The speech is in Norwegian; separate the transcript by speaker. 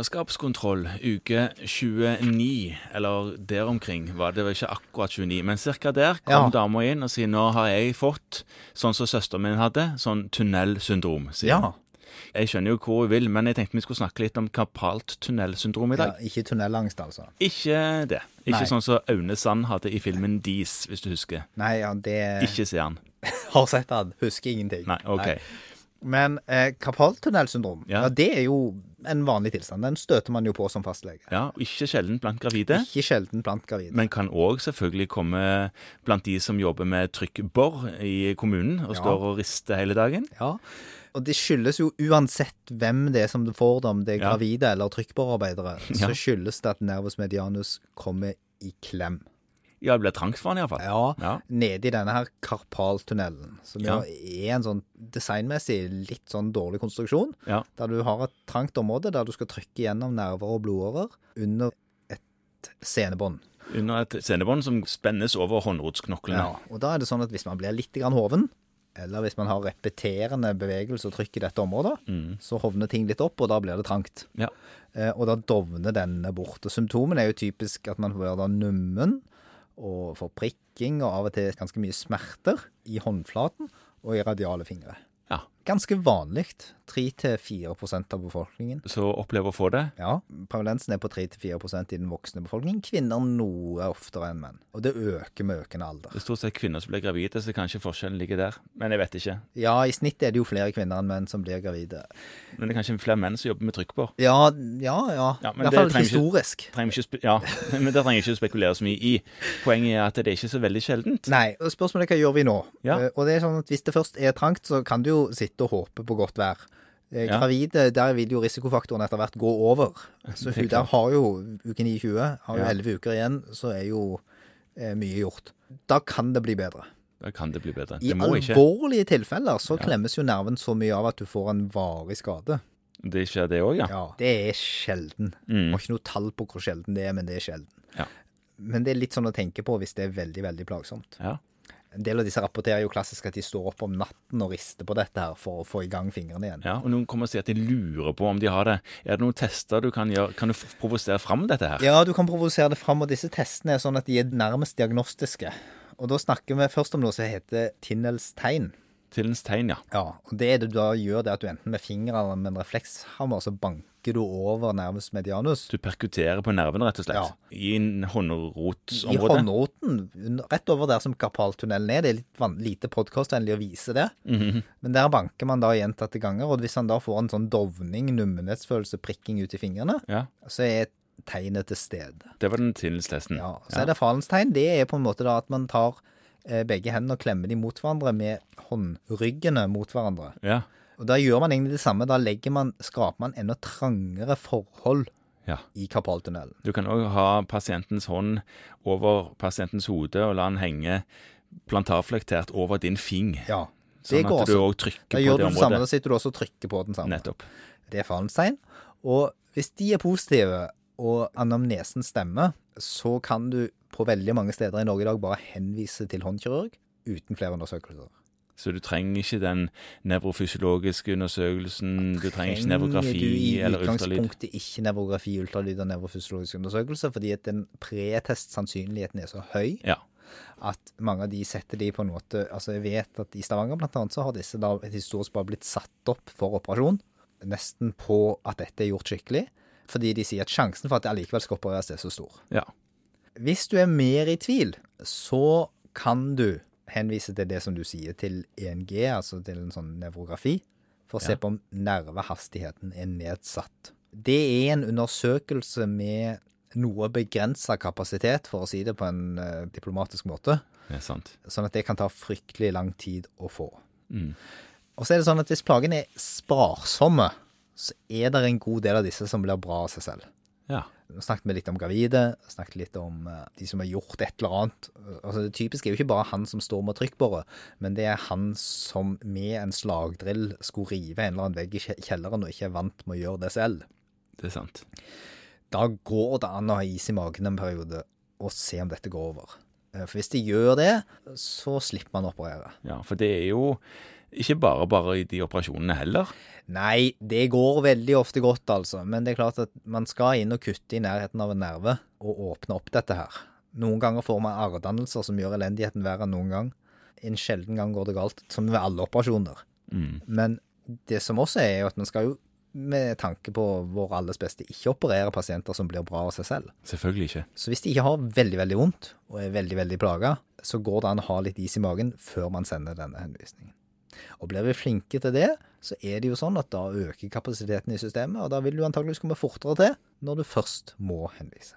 Speaker 1: Svangerskapskontroll uke 29, eller der omkring var det vel ikke akkurat 29, men cirka der kom
Speaker 2: Ja.
Speaker 1: dama inn og sier nå har jeg fått, sånn som søsteren min hadde, sånn tunnelsyndrom. sier
Speaker 2: Ja.
Speaker 1: hun. Jeg skjønner jo hvor hun vil, men jeg tenkte vi skulle snakke litt om karpalt tunnelsyndrom i
Speaker 2: ja.
Speaker 1: dag.
Speaker 2: Ikke tunnelangst, altså.
Speaker 1: Ikke det. Ikke
Speaker 2: Nei.
Speaker 1: sånn som Aune Sand hadde i filmen Dis, hvis du husker.
Speaker 2: Nei, ja, det
Speaker 1: Ikke se han.
Speaker 2: Har sett den, husker ingenting.
Speaker 1: Nei, OK.
Speaker 2: Nei. Men eh, karpaltunnelsyndrom,
Speaker 1: Ja.
Speaker 2: ja. det er jo en vanlig tilstand. Den støter man jo på som fastlege.
Speaker 1: Ja, Ikke sjelden blant gravide.
Speaker 2: Ikke sjelden blant gravide.
Speaker 1: Men kan òg selvfølgelig komme blant de som jobber med trykkbor i kommunen og
Speaker 2: Ja.
Speaker 1: står og rister hele dagen.
Speaker 2: Ja. Og det skyldes jo uansett hvem det er som får det, om det er
Speaker 1: Ja.
Speaker 2: gravide eller trykkbårarbeidere,
Speaker 1: Ja.
Speaker 2: så skyldes det at nervus medianus kommer i klem.
Speaker 1: Ja, det blir trangt for han iallfall.
Speaker 2: Ja,
Speaker 1: Ja.
Speaker 2: nede i denne her karpaltunnelen, som
Speaker 1: Ja.
Speaker 2: jo er en sånn designmessig litt sånn dårlig konstruksjon,
Speaker 1: Ja.
Speaker 2: der du har et trangt område der du skal trykke gjennom nerver og blodårer under et senebånd.
Speaker 1: Under et sendebånd som spennes over håndrotsknoklene.
Speaker 2: Ja, og da er det sånn at hvis man blir litt grann hoven, eller hvis man har repeterende bevegelse og trykk i dette området, så hovner ting litt opp, og da blir det trangt.
Speaker 1: Ja.
Speaker 2: Eh, Og da dovner denne bort. Og symptomene er jo typisk at man blir da nummen, og får prikking, og av og til ganske mye smerter i håndflaten og i radiale fingre.
Speaker 1: Ja.
Speaker 2: Ganske vanlig. 3-4 av befolkningen.
Speaker 1: Så opplever å få det.
Speaker 2: Ja, prevalensen er på 3-4 i den voksne befolkningen. Kvinner noe oftere enn menn. Og det øker med økende alder.
Speaker 1: Det er stort sett kvinner som blir gravide, så kanskje forskjellen ligger der. Men jeg vet ikke.
Speaker 2: Ja, i snitt er det jo flere kvinner enn menn som blir gravide.
Speaker 1: Men det er kanskje flere menn som jobber med trykkbor.
Speaker 2: Ja, ja. ja.
Speaker 1: Ja, men
Speaker 2: I hvert
Speaker 1: det
Speaker 2: fall
Speaker 1: trenger ikke-
Speaker 2: historisk.
Speaker 1: Trenger vi ikke spe ja, men Det trenger jeg ikke spekulere så mye i. Poenget er at det er ikke så veldig sjeldent.
Speaker 2: Nei, og spørsmålet er hva gjør vi nå?
Speaker 1: Ja.
Speaker 2: Eh, Og det er sånn at hvis det først er trangt, så kan du jo sitte og håpe på godt vær. Eh,
Speaker 1: Ja.
Speaker 2: Gravide, der vil jo risikofaktoren etter hvert gå over.
Speaker 1: Det
Speaker 2: Så
Speaker 1: er
Speaker 2: hun der har jo uke 29, har jo
Speaker 1: Ja.
Speaker 2: 11 uker igjen, så er jo eh, mye gjort. Da kan det bli bedre.
Speaker 1: Da kan det bli bedre.
Speaker 2: I
Speaker 1: Det må ikke.
Speaker 2: alvorlige tilfeller så klemmes jo nerven så mye av at du får en varig skade.
Speaker 1: Det skjer, det òg, ja. Mm.
Speaker 2: Ja, det er sjelden. Jeg Har ikke noe tall på hvor sjelden det er, men det er sjelden.
Speaker 1: Ja.
Speaker 2: Men det er litt sånn å tenke på hvis det er veldig, veldig plagsomt.
Speaker 1: ja.
Speaker 2: En del av disse rapporterer jo klassisk at de står opp om natten og rister på dette her for å få i gang fingrene igjen.
Speaker 1: Ja, og Noen kommer og sier at de lurer på om de har det. Er det noen tester du kan gjøre? Kan du f- provosere fram dette her?
Speaker 2: Ja, du kan provosere det fram, og disse testene er sånn at de er nærmest diagnostiske. Og da snakker vi først om noe som heter Tinnels tegn.
Speaker 1: Tillens tegn, ja.
Speaker 2: Ja, og det du da gjør, det er at du enten med fingeren eller med en reflekshammer så banker du over nervus medianus.
Speaker 1: Du perkuterer på nerven, rett og slett.
Speaker 2: Ja.
Speaker 1: I en
Speaker 2: I
Speaker 1: håndrotsområde.
Speaker 2: håndroten, un- rett over der som karpaltunnelen er, det er litt van lite podkastvennlig å vise det. Men der banker man da gjentatte ganger, og hvis han da får en sånn dovning, nummenhetsfølelse, prikking ut i fingrene,
Speaker 1: Ja,
Speaker 2: så er tegnet til stede.
Speaker 1: Det var den tillens-testen.
Speaker 2: Ja, så er det farens tegn. Det er på en måte da at man tar eh, begge hendene og klemmer de mot hverandre med håndryggene mot hverandre.
Speaker 1: Ja.
Speaker 2: Og da gjør man egentlig det samme. Da legger man, skraper man enda trangere forhold
Speaker 1: ja.
Speaker 2: i karpaltunnelen.
Speaker 1: Du kan òg ha pasientens hånd over pasientens hode og la den henge plantarflektert over din fing.
Speaker 2: Ja, det
Speaker 1: Sånn
Speaker 2: går
Speaker 1: at du
Speaker 2: også.
Speaker 1: òg trykker
Speaker 2: Da
Speaker 1: på
Speaker 2: gjør du
Speaker 1: det
Speaker 2: det samme, da
Speaker 1: området.
Speaker 2: sitter du også og trykker på den samme.
Speaker 1: Nettopp.
Speaker 2: Det er farens tegn. Og hvis de er positive, og anamnesen stemmer, så kan du på veldig mange steder i Norge i dag bare henvise til håndkirurg uten flere undersøkelser.
Speaker 1: Så du trenger ikke den nevrofysiologiske undersøkelsen, du trenger ikke nevrografi
Speaker 2: Trenger
Speaker 1: eller
Speaker 2: du i
Speaker 1: ultralyd.
Speaker 2: utgangspunktet ikke nevrografi, ultralyd og nevrofysiologisk undersøkelse, fordi at den pretest-sannsynligheten er så høy
Speaker 1: Ja.
Speaker 2: at mange av de setter de på en måte Altså, jeg vet at i Stavanger blant annet så har disse da historisk bare blitt satt opp for operasjon, nesten på at dette er gjort skikkelig, fordi de sier at sjansen for at det allikevel skal opereres, er så stor.
Speaker 1: ja.
Speaker 2: Hvis du er mer i tvil, så kan du henvise til det som du sier, til ENG, altså til en sånn nevrografi, for å se
Speaker 1: Ja.
Speaker 2: på om nervehastigheten er nedsatt. Det er en undersøkelse med noe begrensa kapasitet, for å si det på en eh, diplomatisk måte,
Speaker 1: Det er sant.
Speaker 2: sånn at det kan ta fryktelig lang tid å få.
Speaker 1: Mm.
Speaker 2: Og så er det sånn at hvis plagene er sparsomme, så er det en god del av disse som blir bra av seg selv.
Speaker 1: Ja.
Speaker 2: Nå snakket vi litt om gravide, snakket litt om eh, de som har gjort et eller annet. Altså Det typiske er jo ikke bare han som står med trykkbåret, men det er han som med en slagdrill skulle rive en eller annen vegg i kje- kjelleren og ikke er vant med å gjøre det selv.
Speaker 1: Det er sant.
Speaker 2: Da går det an å ha is i magen en periode og se om dette går over. Eh, For hvis de gjør det, så slipper man å operere.
Speaker 1: Ja, For det er jo ikke bare bare i de operasjonene heller.
Speaker 2: Nei, det går veldig ofte godt, altså. Men det er klart at man skal inn og kutte i nærheten av en nerve og åpne opp dette her. Noen ganger får man arrdannelser som gjør elendigheten verre enn noen gang. En sjelden gang går det galt, som ved alle operasjoner.
Speaker 1: Mm.
Speaker 2: Men det som også er, er jo at man skal jo med tanke på vår alles beste ikke operere pasienter som blir bra av seg selv.
Speaker 1: Selvfølgelig ikke.
Speaker 2: Så hvis de ikke har veldig, veldig vondt og er veldig, veldig plaga, så går det an å ha litt is i magen før man sender denne henvisningen. Og blir vi flinke til det, så er det jo sånn at da øker kapasiteten i systemet, og da vil du antageligvis komme fortere til når du først må henvise.